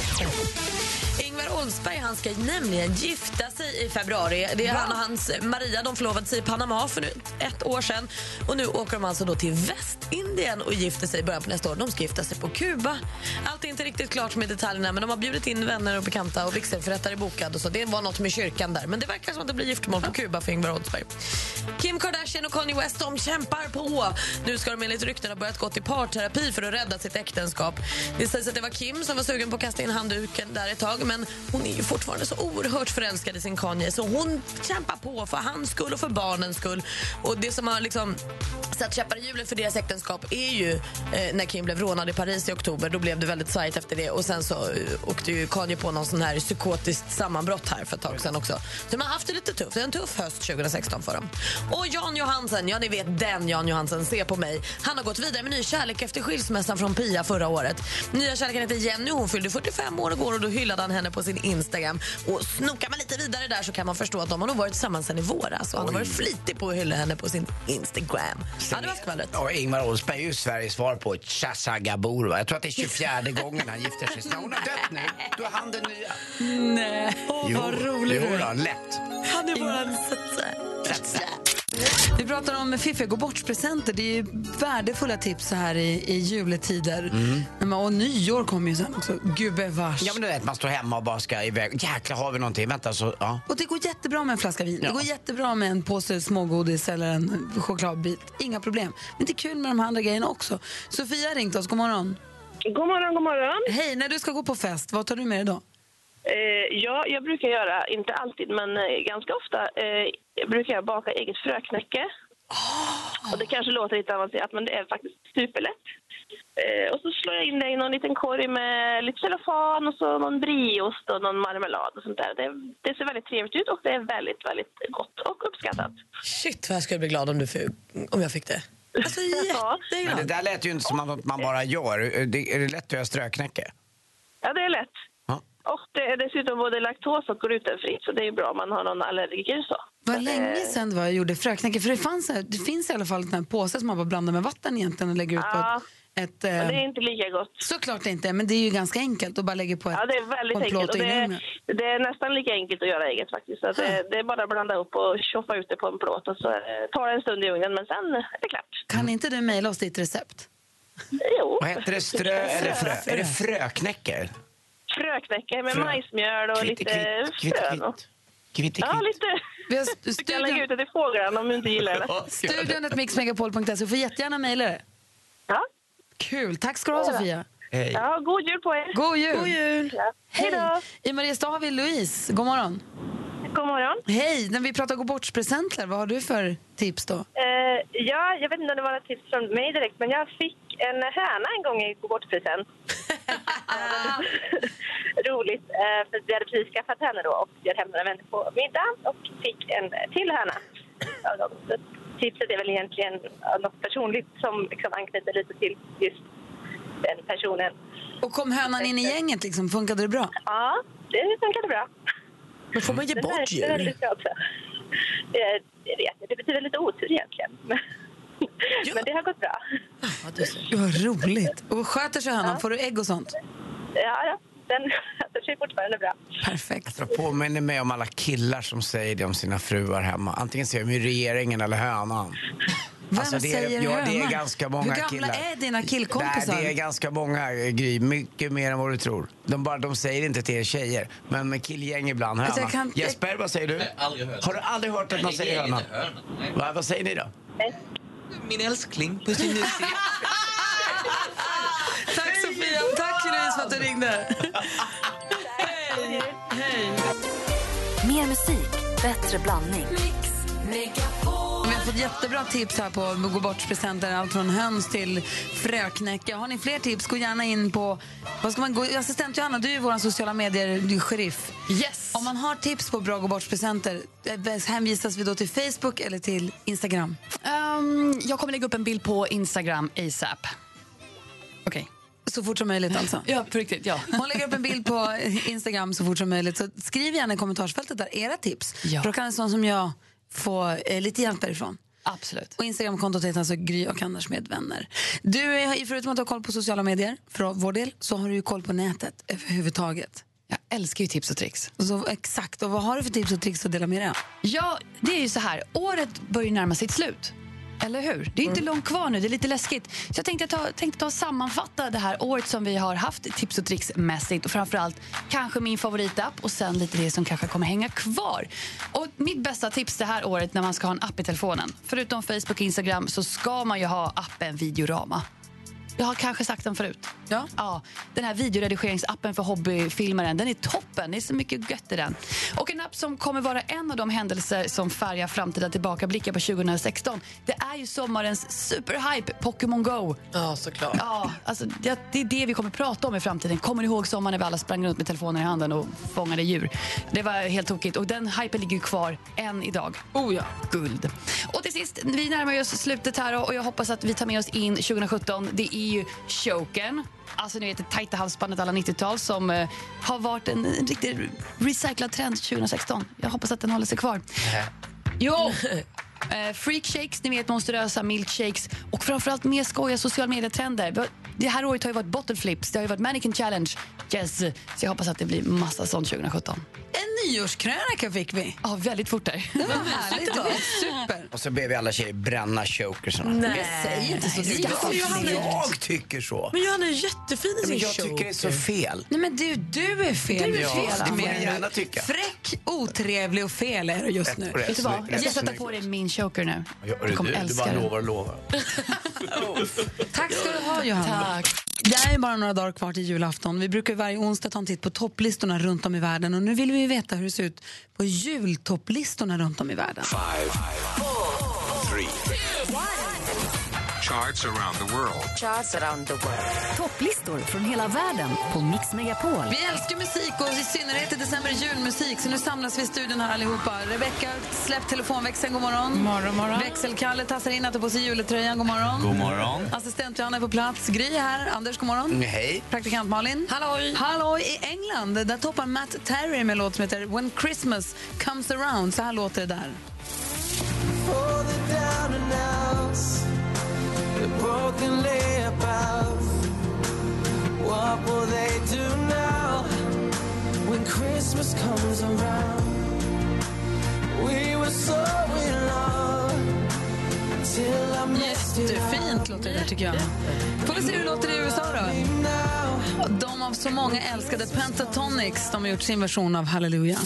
C: Ingvar Oldsberg han ska nämligen gifta sig i februari. Det är han och hans Maria. De förlovade sig i Panama för nu ett år sedan. Och Nu åker de alltså då till Västindien och gifter sig i början på nästa år. De ska gifta sig på Kuba. Allt är inte riktigt klart med detaljerna men de har bjudit in vänner och bekanta och vigselförrättare är bokad. Och så. Det var något med kyrkan där. Men det verkar som att det blir giftermål på Kuba för Ingvar Oldsberg. Kim Kardashian och Kanye West de kämpar på. Nu ska de enligt rykten ha börjat gå till parterapi för att rädda sitt äktenskap. Det sägs att det var Kim som var sugen på att kasta in handduken där ett tag men hon är ju fortfarande så oerhört förälskad i sin Kanye så hon kämpar på för hans skull och för barnens skull. Och det som har liksom satt käppar i hjulet för deras äktenskap är ju eh, när Kim blev rånad i Paris i oktober. Då blev det väldigt svajigt efter det och sen så eh, åkte ju Kanye på någon sån här psykotiskt sammanbrott här för ett tag sedan också. Så de har haft det lite tufft. Det är en tuff höst 2016 för dem. Och Jan Johansen, ja ni vet den Jan Johansen, se på mig. Han har gått vidare med ny kärlek efter skilsmässan från Pia förra året. Nya kärleken heter Jenny hon fyllde 45 år igår och då hyllade han henne på sin Instagram. Och snokar man lite vidare där så kan man förstå att de har nog varit tillsammans sedan i våras och han har
B: Oj.
C: varit flitig på att hylla henne på sin Instagram. Ja, det var skvallret.
B: Ja, Ingvar Oldsberg är ju Sveriges svar på Chaza Gabor. Va? Jag tror att det är 24 gången han gifter sig. När hon har dött nu, då är han den nya.
A: Nej, vad rolig
B: jo, då, lätt.
C: Han är våran
A: Vi pratar om fiffiga gå bort-presenter. Det är ju värdefulla tips så här i, i juletider. Men- Och nyår kommer ju sen också. Gubevars.
B: Ja, men du vet, man står hemma och bara ska iväg. Jäklar, har vi någonting? Vänta, så... Ja.
A: Och det går jättebra med en flaska vin, det går jättebra med en påse smågodis eller en chokladbit. Inga problem. Men det är kul med de här andra grejerna också. Sofia har ringt oss, god morgon.
E: God morgon, god morgon.
A: Hej, när du ska gå på fest, vad tar du med dig då?
E: Eh, ja, jag brukar göra, inte alltid, men eh, ganska ofta, eh, brukar jag baka eget fröknäcke. Och det kanske låter lite avancerat, men det är faktiskt superlätt. Eh, och så slår jag in det i någon liten korg med lite cellofan och så någon brieost och någon marmelad och sånt där. Det, det ser väldigt trevligt ut och det är väldigt, väldigt gott och uppskattat.
C: Shit vad jag skulle bli glad om, du fick, om jag fick det. Alltså
B: Men det
C: jätteglad.
B: där lät ju inte som att man bara gör. Det, är det lätt att göra ströknäcke?
E: Ja, det är lätt.
B: Ja.
E: Och det är dessutom både laktos och glutenfritt, så det är ju bra om man har någon allergiker så.
A: Vad länge
E: Eh.
A: sedan det var jag gjorde fröknäcke. För det, fanns, det finns i alla fall en sån här påse som man bara blandar med vatten egentligen och lägger ut på
E: Ja.
A: ett... ett
E: Men det
A: eh,
E: är inte lika gott.
A: Såklart det inte, men det är ju ganska enkelt att bara lägga på ett
E: Ja, det är väldigt
A: på en plåt och
E: enkelt. Och det,
A: in i
E: är,
A: ugnen.
E: det är nästan lika enkelt att göra eget faktiskt. Så att det, det är bara att blanda upp och tjoffa ut det på en plåt och så eh, tar det en stund i ugnen, men sen är det klart.
A: Kan inte du mejla oss ditt recept?
E: Jo.
B: Vad heter det? Strö eller frö? Är det fröknäcke?
E: Fröknäcke med
B: Frö.
E: majsmjöl och
B: Kvitt,
E: lite
B: kvitt, kvitt,
E: frön. och-
B: kvitt. Kvitt,
E: Ja,
B: kvitt.
E: lite.
A: Vi har st-
E: Du kan
A: studion-
E: lägga ut det till fåglarna om du inte gillar det.
A: Studion at mixmegapol.se. får jättegärna mejla det.
E: Ja.
A: Kul. Tack ska du ha, Sofia.
B: Hej.
E: Ja, god jul på er!
A: God jul!
E: Ja. Hej då!
A: Hej! I Mariestad har vi Louise. God morgon.
E: God morgon!
A: Hej! När vi pratar gå bort-presenter, vad har du för tips då?
E: Eh, ja, jag vet inte om det var något tips från mig direkt, men jag fick en höna en gång i gå bort-present. Roligt, eh, för vi hade precis skaffat henne då och bjöd hem några vänner på middag och fick en till höna. av dem. Så Tipset är väl egentligen eh, något personligt som liksom anknyter lite till just den personen.
A: Och kom hönan in i gänget? Liksom? Funkade det bra?
E: Ja, det funkade bra.
C: Men får man ge
E: Den
C: bort
E: är- den är
C: djur?
E: väldigt bra också. Eh, Det vet jag, det betyder lite otur egentligen. Men, men det har gått bra.
A: Gud, Vad roligt. Och sköter sig hönan? Får du ägg och sånt?
H: Ja, ja. den äter sig fortfarande bra.
A: Perfekt.
B: Jag påminner mig om alla killar som säger det om sina fruar hemma. Antingen säger de ju regeringen eller hönan. Alltså,
A: Vem
B: det är,
A: säger
B: ja, det är
A: hönan?
B: ganska många
A: Hur gamla
B: killar.
A: är dina killkompisar?
B: Nej, det är ganska många, eh, Gry. Mycket mer än vad du tror. De, bara, de säger inte till er tjejer, men med killgäng ibland.
A: Alltså,
B: Hönan.
A: jag kan-
B: Jesper, vad säger du?
D: Nej, aldrig hört.
B: Har du aldrig hört att någon
D: Nej,
B: säger hönan?
D: inte hönan. Nej.
B: Va, vad säger ni då?
D: Min älskling, puss och mus.
A: Tack Sofia, tack Therese för att du ringde.
G: Mer musik, bättre blandning.
A: Vi har fått jättebra tips här på gå bort-presenter, allt från höns till fröknäcke. Har ni fler tips, gå gärna in på... Vad ska man gå? Assistent Johanna, du är vår sociala medier-sheriff.
C: Yes.
A: Om man har tips på bra gå bort-presenter, eh, hänvisas vi då till Facebook eller till Instagram?
I: Ehm, jag kommer lägga upp en bild på Instagram ASAP. Okej.
A: Så fort som möjligt alltså?
I: Ja, på riktigt. Ja.
A: Hon lägger upp en bild på Instagram så fort som möjligt. Så skriv gärna i kommentarsfältet där era tips.
I: Ja.
A: För då kan en sån som jag få eh, lite hjälp därifrån.
I: Absolut.
A: Och Instagramkontot heter alltså Gry och Anders med vänner. Du, är, förutom att du har koll på sociala medier, för vår del, så har du ju koll på nätet överhuvudtaget.
I: Jag älskar ju tips och tricks.
A: Så, exakt. Och vad har du för tips och tricks att dela med dig av?
I: Ja, det är ju så här. Året börjar närma sig ett slut. Eller hur? Det är inte långt kvar nu, det är lite läskigt. Så jag tänkte ta, tänkte ta och sammanfatta det här året som vi har haft tips och tricks mässigt och framförallt kanske min favoritapp och sen lite det som kanske kommer hänga kvar. Och mitt bästa tips det här året när man ska ha en app i telefonen, förutom Facebook och Instagram så ska man ju ha appen Videorama. Jag har kanske sagt den förut.
A: Ja.
I: Ja, den här videoredigeringsappen för hobbyfilmaren den är toppen. Det är så mycket gött i den. Och En app som kommer vara en av de händelser som färgar framtida tillbakablickar på 2016 det är ju sommarens superhype Pokémon Go.
C: Ja, såklart.
I: Ja, alltså, det, det är det vi kommer prata om i framtiden. Kommer ni ihåg sommaren när vi alla sprang runt med telefoner i handen och fångade djur? Det var helt tokigt. Och den hypen ligger ju kvar än idag.
A: Oh ja.
I: Guld. Och till sist, vi närmar oss slutet här och jag hoppas att vi tar med oss in 2017. Det är ju choken. Alltså ni vet det tajta halsbandet alla 90-tal som eh, har varit en, en riktig recyclad trend 2016. Jag hoppas att den håller sig kvar. Jo! Eh, freakshakes, ni vet monsterösa milkshakes och framförallt mer skoja sociala medietrender. Vi har- Det här året har ju varit bottle flips, det har ju varit mannequin challenge. Yes! Så jag hoppas att det blir massa sånt 2017.
A: En nyårskrönika fick vi.
I: Ja, väldigt fort där.
A: Det var härligt. Det var super.
B: Och så ber vi alla tjejer bränna chokersarna.
A: Jag säger inte så.
I: Nej,
A: Det är
I: skaffa
A: jag som
C: fler.
A: säger.
B: Jag tycker så.
C: Men Johanna är jättefin i
B: Men
C: sin
B: jag tycker det är så fel.
A: Nej men du, du är fel.
B: Du är Ja, fel, det får
A: Anna.
B: ni gärna tycka.
A: Fräck, otrevlig och fel är du just nu.
I: Vet du vad? Jag ska sätta på dig min choker nu. Du kommer älska den.
B: och lovar.
A: Tack ska du ha Johanna.
I: Tack.
A: Det är bara några dagar kvar till julafton. Vi brukar varje onsdag ta en titt på topplistorna runt om i världen och nu vill vi veta hur det ser ut på jultopplistorna runt om i världen.
G: Topplistor från hela världen på Mix Megapol.
A: Vi älskar musik och i synnerhet i december är julmusik så nu samlas vi i studion här allihopa. Rebecca, släpp telefonväxeln, god morgon. morgon, morgon. Växelkalle tassar in att ta på sig juletröjan, god morgon.
E: God morgon.
A: Assistent Johanna är på plats, Gry är här, Anders god morgon.
B: Hej.
A: Praktikant Malin. Halloj! Halloj i England. Där toppar Matt Terry med en låt som heter When Christmas comes around. Så här låter det där. Jättefint låter det där, tycker jag. Får vi se hur det låter i USA då. De av så många älskade Pentatonics, de har gjort sin version av Halleluja.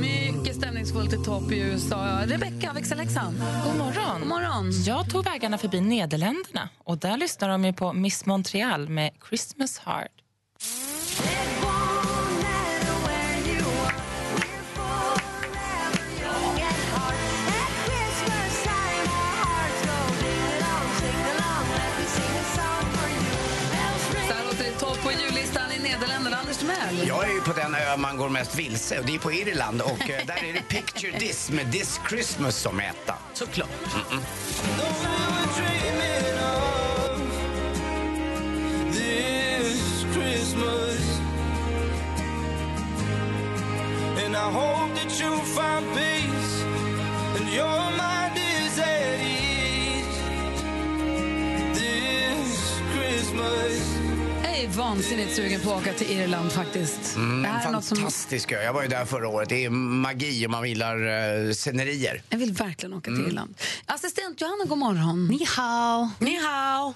A: Mycket stämningsfullt i topp i USA. Rebecca, växelhäxan.
J: God morgon.
A: God morgon.
J: Jag tog vägarna förbi Nederländerna och där lyssnar de ju på Miss Montreal med Christmas Heart.
A: Så här låter det i topp på jullistan i Nederländerna. Anders, du med? ikväll.
B: Jag är ju på den ö man går mest vilse och det är på Irland och eh, där är det Picture This med This Christmas som är etta. Såklart. Mm-mm.
E: this Christmas. And I hope that you find peace and your mind is at ease this Christmas.
A: Jag är vansinnigt sugen på att åka till Irland faktiskt.
B: Mm,
A: det här är
B: en
A: något som
B: fantastisk ö. Jag var ju där förra året. Det är magi om man gillar eh, scenerier.
A: jag vill verkligen åka till
B: Mm.
A: Irland. Assistent Johanna, god morgon. Ni hao.
C: Ni hao.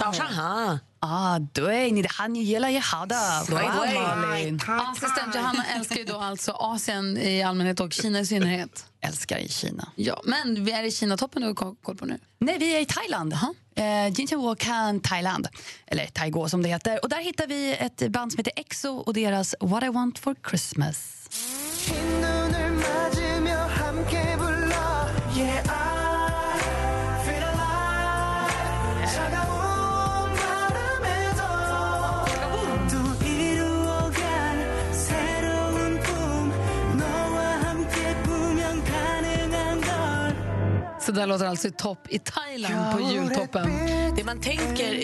A: Sao
C: shanha.
K: Ah, då är ni det han ni gillar jag hade. Bra jobbat, Malin.
A: Assistent Johanna älskar ju då alltså Asien i allmänhet och Kina i synnerhet.
K: Älskar i Kina.
A: Ja, men vi är i Kinatoppen du har koll på nu.
K: Nej, vi är i Thailand. Eh, Jinchen Wokan Thailand, eller Taigo som det heter. Och där hittar vi ett band som heter EXO och deras What I want for Christmas.
E: 흰 눈을 맞으며 함께 불러 Yeah I feel alive 차가운 바람에도 또 이루어간 새로운 꿈 너와 함께 꾸면 가능한 걸
A: Så där låter alltså i topp i Thailand på jultoppen.
C: Det man tänker,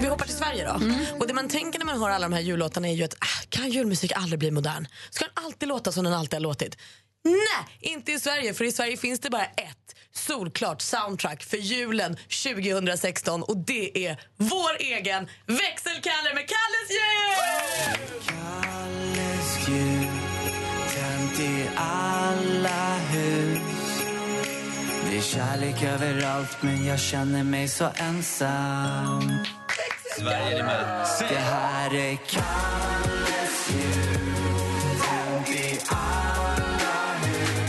C: vi hoppar till Sverige då. Och det man tänker när man hör alla de här jullåtarna är ju att ah, kan julmusik aldrig bli modern? Ska den alltid låta som den alltid har låtit? Nej, inte i Sverige för i Sverige finns det bara ett solklart soundtrack för julen 2016 och det är vår egen Växelkalle med Kalles jul!
E: Kalles jul tänt i alla hus Det är kärlek överallt men jag känner mig så ensam
L: Sverige är med.
E: Det här är Kalles jul tänt i alla hus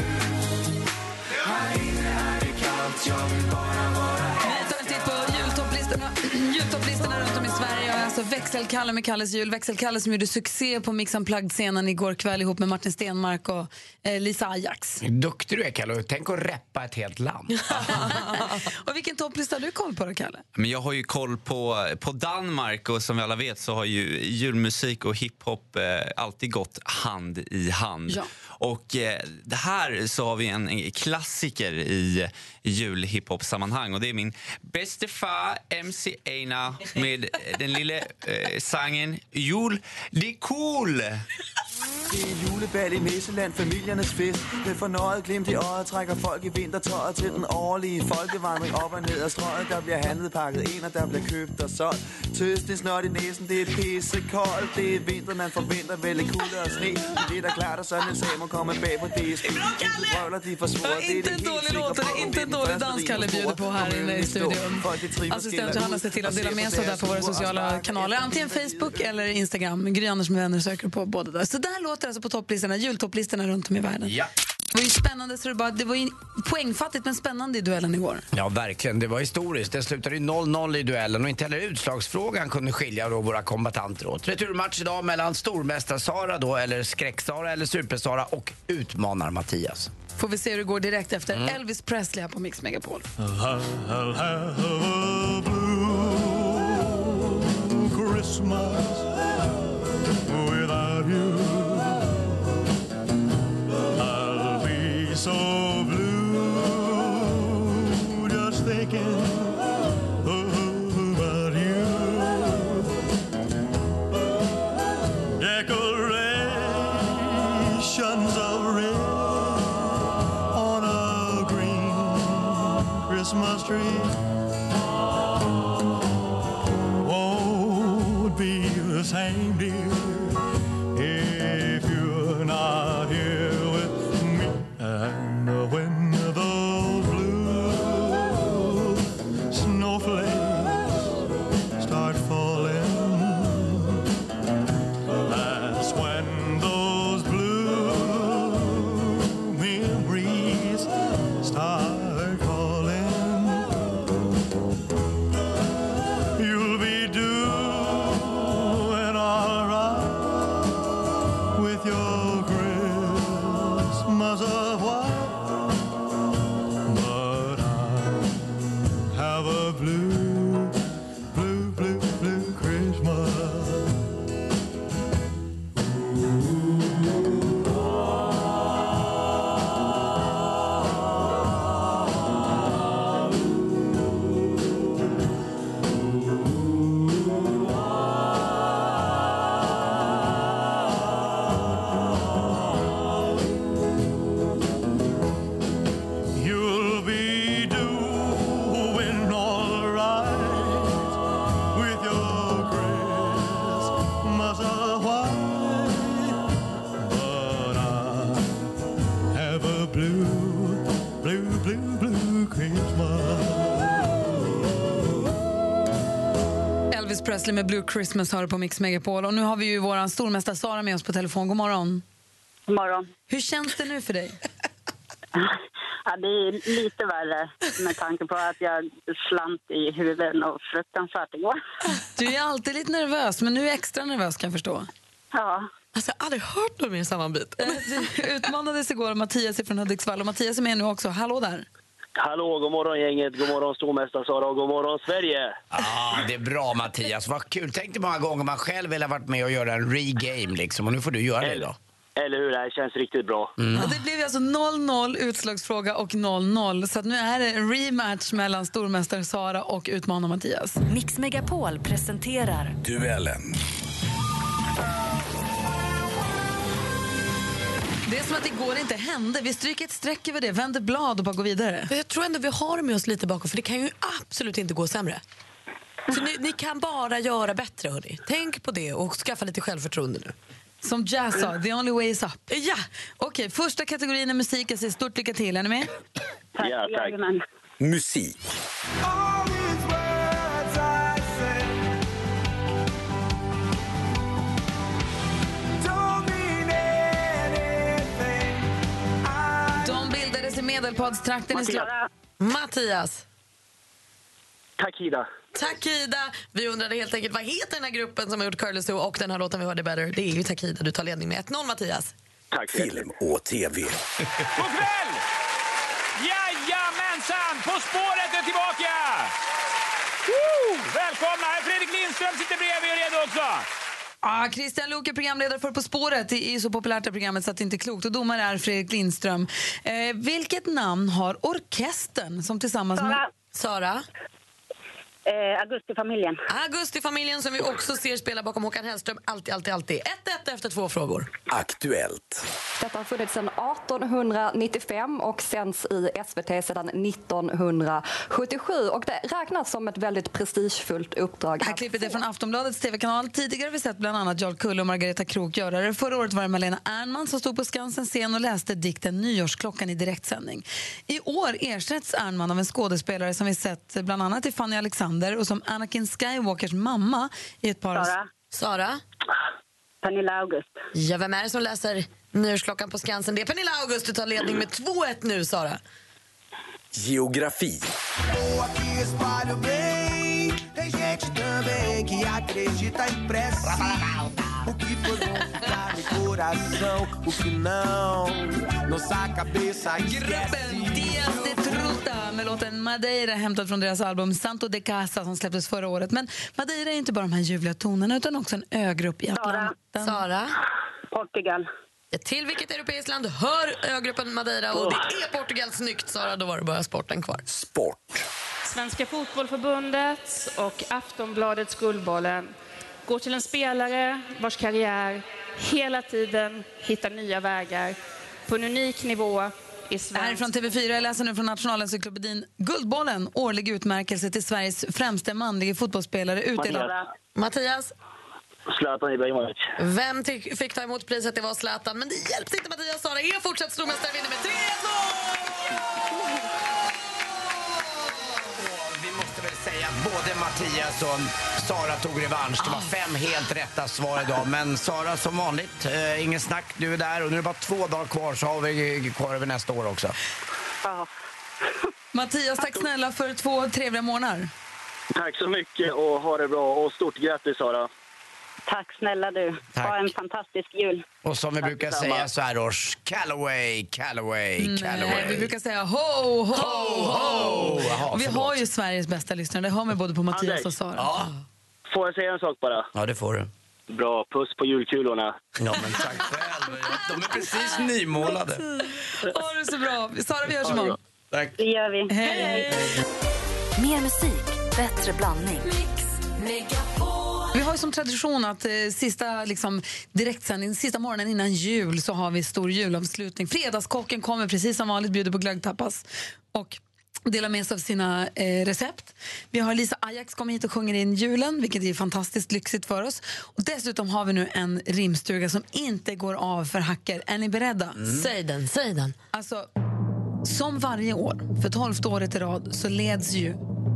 E: Här inne är det kallt, jag vill bara vara
A: Vi tar en titt på jultopplistorna, jultopplistorna runt om i Sverige. Och alltså Växelkalle med Kalles jul. Växelkalle som gjorde succé på Mix Unplugged-scenen igår kväll ihop med Martin Stenmark och eh, Lisa Ajax.
B: Hur duktig du är, Kalle. Tänk att reppa ett helt land.
A: och vilken topplista har du koll på då, Kalle?
L: Men jag har ju koll på, på Danmark och som vi alla vet så har ju julmusik och hiphop eh, alltid gått hand i hand.
A: Ja.
L: Och eh, det här så har vi en, en klassiker i julhiphop-sammanhang och det är min bäste far MC Einar med den lilla eh, sangen Jul, det är cool!
M: Det er julebal i Nisseland, familiernes fest. Med fornøjet glimt i øjet trækker folk i vintertøjet til den årlige folkevandring op og ned ad strøget. Der bliver handlet pakket ind, og der bliver købt og solgt. Tøsten snot i næsen, det er pissekoldt. Det er vinter, man forventer vel en kulde og sne. Men det er da klart, at sådan en sag må komme bag på DSB. Brøvler, de forsvorer, det er det helt sikre på. Det er
A: inte en
M: den
A: dårlig
M: første
A: dans,
M: rim,
A: Kalle
M: man
A: bjuder
M: bruger.
A: på här inne i studion.
M: Folk, de trives,
A: Assistent
M: skiller
A: Johanna ser
M: ud
A: till
M: og
A: att dela
M: ser på
A: med sig där
M: deres
A: på våra
M: sure og
A: sociala kanaler. Antingen Facebook eller Instagram. Gry Anders med vänner söker du på båda där. Så där låter det alltså på topplistorna, jultopplistorna runt om i världen.
B: Ja.
A: Det var ju spännande, så det, bara, det var ju poängfattigt men spännande i duellen igår.
B: Ja, verkligen. Det var historiskt. Det slutade ju 0-0 i duellen och inte heller utslagsfrågan kunde skilja då våra kombatanter åt. Returmatch idag mellan stormästar-Sara då, eller skräck-Sara eller super-Sara och utmanar-Mattias.
A: Får vi se hur det går direkt efter Elvis Presley här på Mix Megapol.
E: I'll have a blue Christmas without you. I'll be so blue just thinking about you. Decorations of red on a green Christmas tree won't be the same, dear, if you're not here with me. And when those blue snowflakes start falling, that's when those blue memories start calling. You'll be doing all right with
A: Elvis Presley med Blue Christmas hör på Mix Megapol. Och nu har vi ju vår stormästare Sara med oss på telefon. God morgon.
N: God morgon.
A: Hur känns det nu för dig?
N: Ja, det är lite värre med tanke på att jag slant i huvudet och fruktansvärt igår.
A: Du är alltid lite nervös, men nu är jag extra nervös kan jag förstå.
N: Ja.
A: Alltså, jag har aldrig hört någon mer sammanbit. Du utmanades igår av Mattias från Hudiksvall och Mattias är med nu också. Hallå där!
O: Hallå, god morgon gänget, god morgon stormästaren Sara och god morgon Sverige!
B: Ja, Ah, det är bra Mattias. Vad kul. Tänk dig många gånger man själv vill ha varit med och göra en regame liksom. Och nu får du göra det idag.
O: Eller hur, det här känns riktigt bra.
A: Och det blev ju alltså 0-0 utslagsfråga och 0-0. Så att nu är det en rematch mellan stormästare Sara och utmanar Mattias.
G: Mix Megapol presenterar
P: Duellen.
A: Det är som att igår inte hände. Vi stryker ett streck över det, vänder blad och bara går vidare.
C: Jag tror ändå vi har med oss lite bakom, för det kan ju absolut inte gå sämre. Så ni, ni kan bara göra bättre, hörni. Tänk på det och skaffa lite självförtroende nu.
A: Som Jazz sa, the only way is up. Ja! Okej, första kategorin är musik. Jag säger stort lycka till. Är ni med?
O: Ja, tack.
P: Musik.
A: De bildades i Medelpadstrakten i
C: Mattias.
A: Sla-
C: Mattias.
O: Tack Ida.
C: Tack Ida! Vi undrade helt enkelt vad heter den här gruppen som har gjort Curly Sue och den här låten vi hörde Better. Det är ju Tack Ida, du tar ledning med 1-0 Mattias.
O: Tack
P: Film och tv.
Q: God kväll! Jajamensan! På spåret är tillbaka! Woo! Välkomna! Här är Fredrik Lindström sitter bredvid er redo också.
A: Ah, Christian Luke är programledare för På spåret. Det är så populärt det programmet så att det inte är klokt. Och domare är Fredrik Lindström. Eh, vilket namn har orkestern som tillsammans med...
C: Sara?
N: Eh, Augustifamiljen.
C: Augustifamiljen som vi också ser spela bakom Håkan Hellström. Alltid, alltid, alltid. 1-1 efter två frågor.
P: Aktuellt.
R: Detta har funnits sedan 1895 och sänds i SVT sedan 1977. Och det räknas som ett väldigt prestigefullt uppdrag.
A: Det här klippet är från Aftonbladets tv-kanal. Tidigare har vi sett bland annat Jarl Kulle och Margareta Krook göra det. Förra året var det Malena Ernman som stod på Skansens scen och läste dikten Nyårsklockan i direktsändning. I år ersätts Ernman av en skådespelare som vi sett bland annat i Fanny Alexander och som Anakin Skywalkers mamma i ett par... av-
C: Sara. Sara?
N: Pernilla August.
C: Ja, vem är det som läser Nyårsklockan på Skansen? Det är Pernilla August. Du tar ledning med 2-1 nu, Sara.
P: Geografi.
M: Estou aqui, espalho bem. Tem gente também que acredita em pressa. O que for bom ficar no coração, o que não, nossa cabeça esquece.
A: Dias de Truta med låten Madeira hämtad från deras album Santo de Casa som släpptes förra året. Men Madeira är inte bara de här ljuvliga tonerna utan också en ögrupp i Atlanten.
C: Sara?
N: Portugal.
C: Till vilket europeiskt land hör ögruppen Madeira? Och det är Portugal. Snyggt, Sara. Då var det bara sporten kvar.
P: Sport.
S: Svenska Fotbollförbundet och Aftonbladets Guldbollen går till en spelare vars karriär hela tiden hittar nya vägar på en unik nivå i
A: Det här är
S: svensk
A: från TV4. Jag läser nu från Nationalencyklopedin. Guldbollen, årlig utmärkelse till Sveriges främste manlige fotbollsspelare utdelad...
O: Mattias.
C: Mattias,
O: Zlatan Ibrahimovic.
C: vem ty- fick ta emot priset? Det var Zlatan, men det hjälpte inte Mattias. Sara är fortsatt stormästare vinner med 3-2!
B: Vi måste väl säga att både Mattias och Sara tog revansch.
Q: Ah.
B: Det var fem helt rätta svar idag. Men Sara, som vanligt, eh, ingen snack. Du är där och nu är det bara två dagar kvar så har vi kvar över nästa år också.
A: Mattias, tack snälla för två trevliga månader.
O: Tack så mycket och ha det bra. Och stort grattis Sara.
N: Tack snälla du. Ha en fantastisk jul.
B: Och som vi brukar
N: detsamma.
B: säga så här års, Callaway, Callaway,
A: Nej, vi
B: Callaway.
A: brukar säga ho, ho, ho!
B: Jaha,
A: Och vi
B: förlåt.
A: har ju Sveriges bästa lyssnare. Det hör man både på Mattias och Sara.
O: Får jag säga en sak bara?
B: Ja, det får du.
O: Bra, puss på julkulorna.
B: Ja, men tack själv. De är precis nymålade.
A: Ha det så bra. Sara, vi hörs imorgon.
B: Tack.
N: Det gör vi.
C: Mm.
A: Hej.
G: Mer musik, bättre blandning.
A: Vi har ju som tradition att eh, sista, liksom, direktsändning, sista morgonen innan jul så har vi stor julavslutning. Fredagskocken kommer precis som vanligt, bjuder på glöggtappas och delar med sig av sina eh, recept. Vi har Lisa Ajax kommer hit och sjunger in julen, vilket är fantastiskt lyxigt för oss. Och dessutom har vi nu en rimstuga som inte går av för hacker. Är ni beredda?
C: Säg den, säg den.
A: Alltså, som varje år, för tolfte året i rad, så leds ju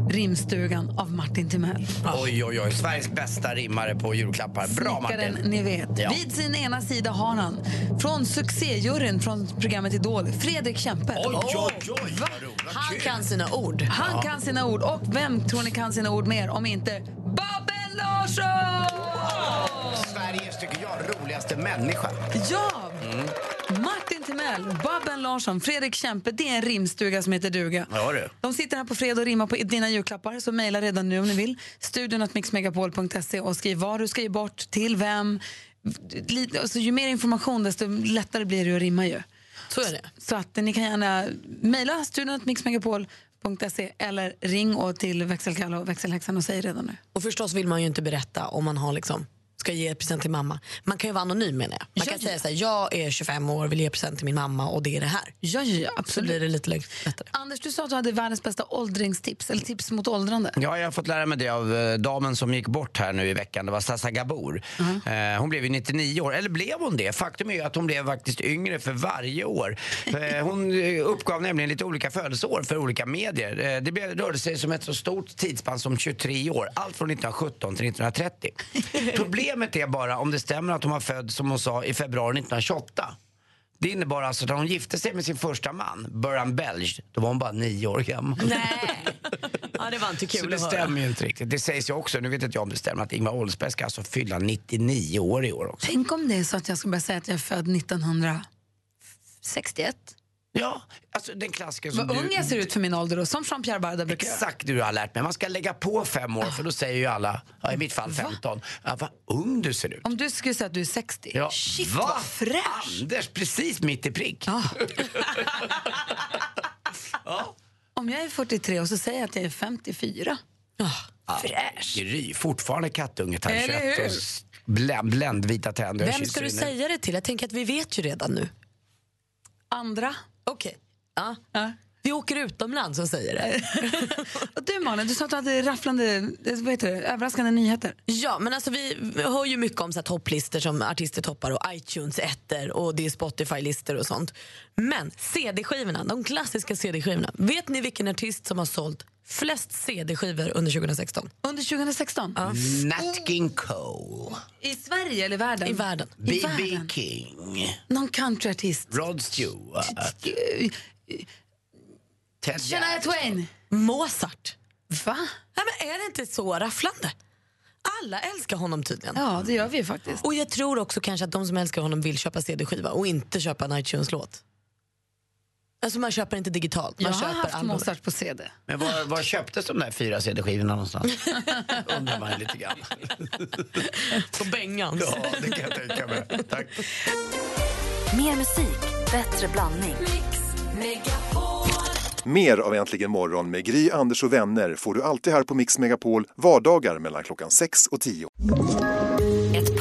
A: Rimstugan av Martin Timell.
B: Oj, oj, oj. Sveriges bästa rimmare på julklappar. Bra
A: Ah. Snickaren,
B: Martin.
A: ni vet.
B: Ja.
A: Vid sin ena sida har han, från succéjuryn från programmet Idol, Fredrik Kempe.
C: Va? Han kan sina ord.
A: Han kan sina ord. Och vem tror ni kan sina ord mer om inte Babben Larsson?
B: Sveriges, tycker jag, roligaste människa.
A: Ja!
B: Mm.
A: Martin Timell, Babben Larsson, Fredrik Kempe. Det är en rimstuga som heter duga.
B: Ja, du.
A: De sitter här på fredag och rimmar på dina julklappar, så mejla redan nu om ni vill. Studion att mixmegapol.se och skriv vad du ska ge bort, till vem. Lite- Alltså, ju mer information desto lättare blir det att rimma ju.
C: Så är det.
A: Så att eh, ni kan gärna mejla studion att mixmegapol.se eller ring och till växelkalla och växelhäxan och säg redan nu.
C: Och förstås vill man ju inte berätta om man har liksom ska ge present till mamma. Man kan ju vara anonym menar jag. Man kan säga så här, jag är 25 år vill ge present till min mamma och det är det här.
A: Ja, ja, absolut.
C: Så blir det lite lättare.
A: Anders, du sa att du hade världens bästa åldringstips, eller tips mot åldrande.
B: Ja, jag har fått lära mig det av eh, damen som gick bort här nu i veckan. Det var Sasa Gabor.
Q: Mm.
B: Eh, hon blev ju 99 år. Eller blev hon det? Faktum är ju att hon blev faktiskt yngre för varje år. Eh, hon eh, uppgav nämligen lite olika födelseår för olika medier. Eh, det blev, rörde sig som ett så stort tidsspann som 23 år. Allt från 1917 till 1930. Problemet är bara om det stämmer att hon var född, som hon sa, i februari 1928. Det innebar alltså att när hon gifte sig med sin första man, Burhan Belge, då var hon bara nio år gammal.
C: Ja, det var inte
B: Så
C: kul
B: det
C: att höra.
B: stämmer ju inte riktigt. Det sägs ju också, nu vet inte jag om det stämmer, att Ingvar Oldsberg ska alltså fylla 99 år i år också.
A: Tänk om det är så att jag ska börja säga att jag är född 1961.
B: Ja, alltså den klassiker som
A: Vad
B: du...
A: ung jag ser ut för min ålder och som Jean-Pierre Barda brukar göra.
B: Exakt det du har lärt mig. Man ska lägga på fem år för då säger ju alla, ja, i mitt fall 15, ja, vad ung du ser ut.
A: Om du skulle säga att du är 60.
B: Ja.
A: Shit,
B: Va?
A: vad fräsch!
B: Anders, precis mitt i prick.
C: Ah.
A: Om jag är 43 och så säger jag att jag är 54.
C: Ah.
B: Fräsch. Gry, fortfarande kattunge,
C: Eller
B: tandkött
C: hur?
B: och s- blä- bländvita tänder.
C: Vem ska du säga det till? Jag tänker att vi vet ju redan nu.
A: Andra.
C: Okej. Ja. Vi åker utomlands och säger det.
A: Och du Malin, du sa att du hade rafflande, eh, vad heter det, överraskande nyheter.
C: Ja, men alltså vi hör ju mycket om så här topplistor som artister toppar och iTunes ettor och det är Spotify-listor och sånt. Men CD-skivorna, de klassiska CD-skivorna. Vet ni vilken artist som har sålt flest CD-skivor under 2016?
A: Under 2016?
C: Ja.
B: Nat King Cole,
A: I Sverige eller i världen? I
C: världen.
B: B.B. King,
A: Någon countryartist?
B: Rod Stewart, Ted
A: Shania Twain?
C: Mozart.
A: Va?
C: Nej, men är det inte så rafflande? Alla älskar honom tydligen.
A: Ja, det gör vi ju faktiskt.
C: Och jag tror också kanske att de som älskar honom vill köpa CD-skiva och inte köpa en iTunes-låt. Alltså man köper inte digitalt, man
A: Jag har
C: köper
A: haft
C: albumet.
A: Mozart på CD.
B: Men var, var köptes de där fyra CD-skivorna någonstans? Undrar man ju lite grann.
C: På Bengans.
B: Ja, det kan jag tänka mig. Tack.
G: Mer musik, bättre blandning.
F: Mer av Äntligen morgon med Gry, Anders och vänner får du alltid här på Mix Megapol vardagar mellan klockan 6 och 10.
G: Ett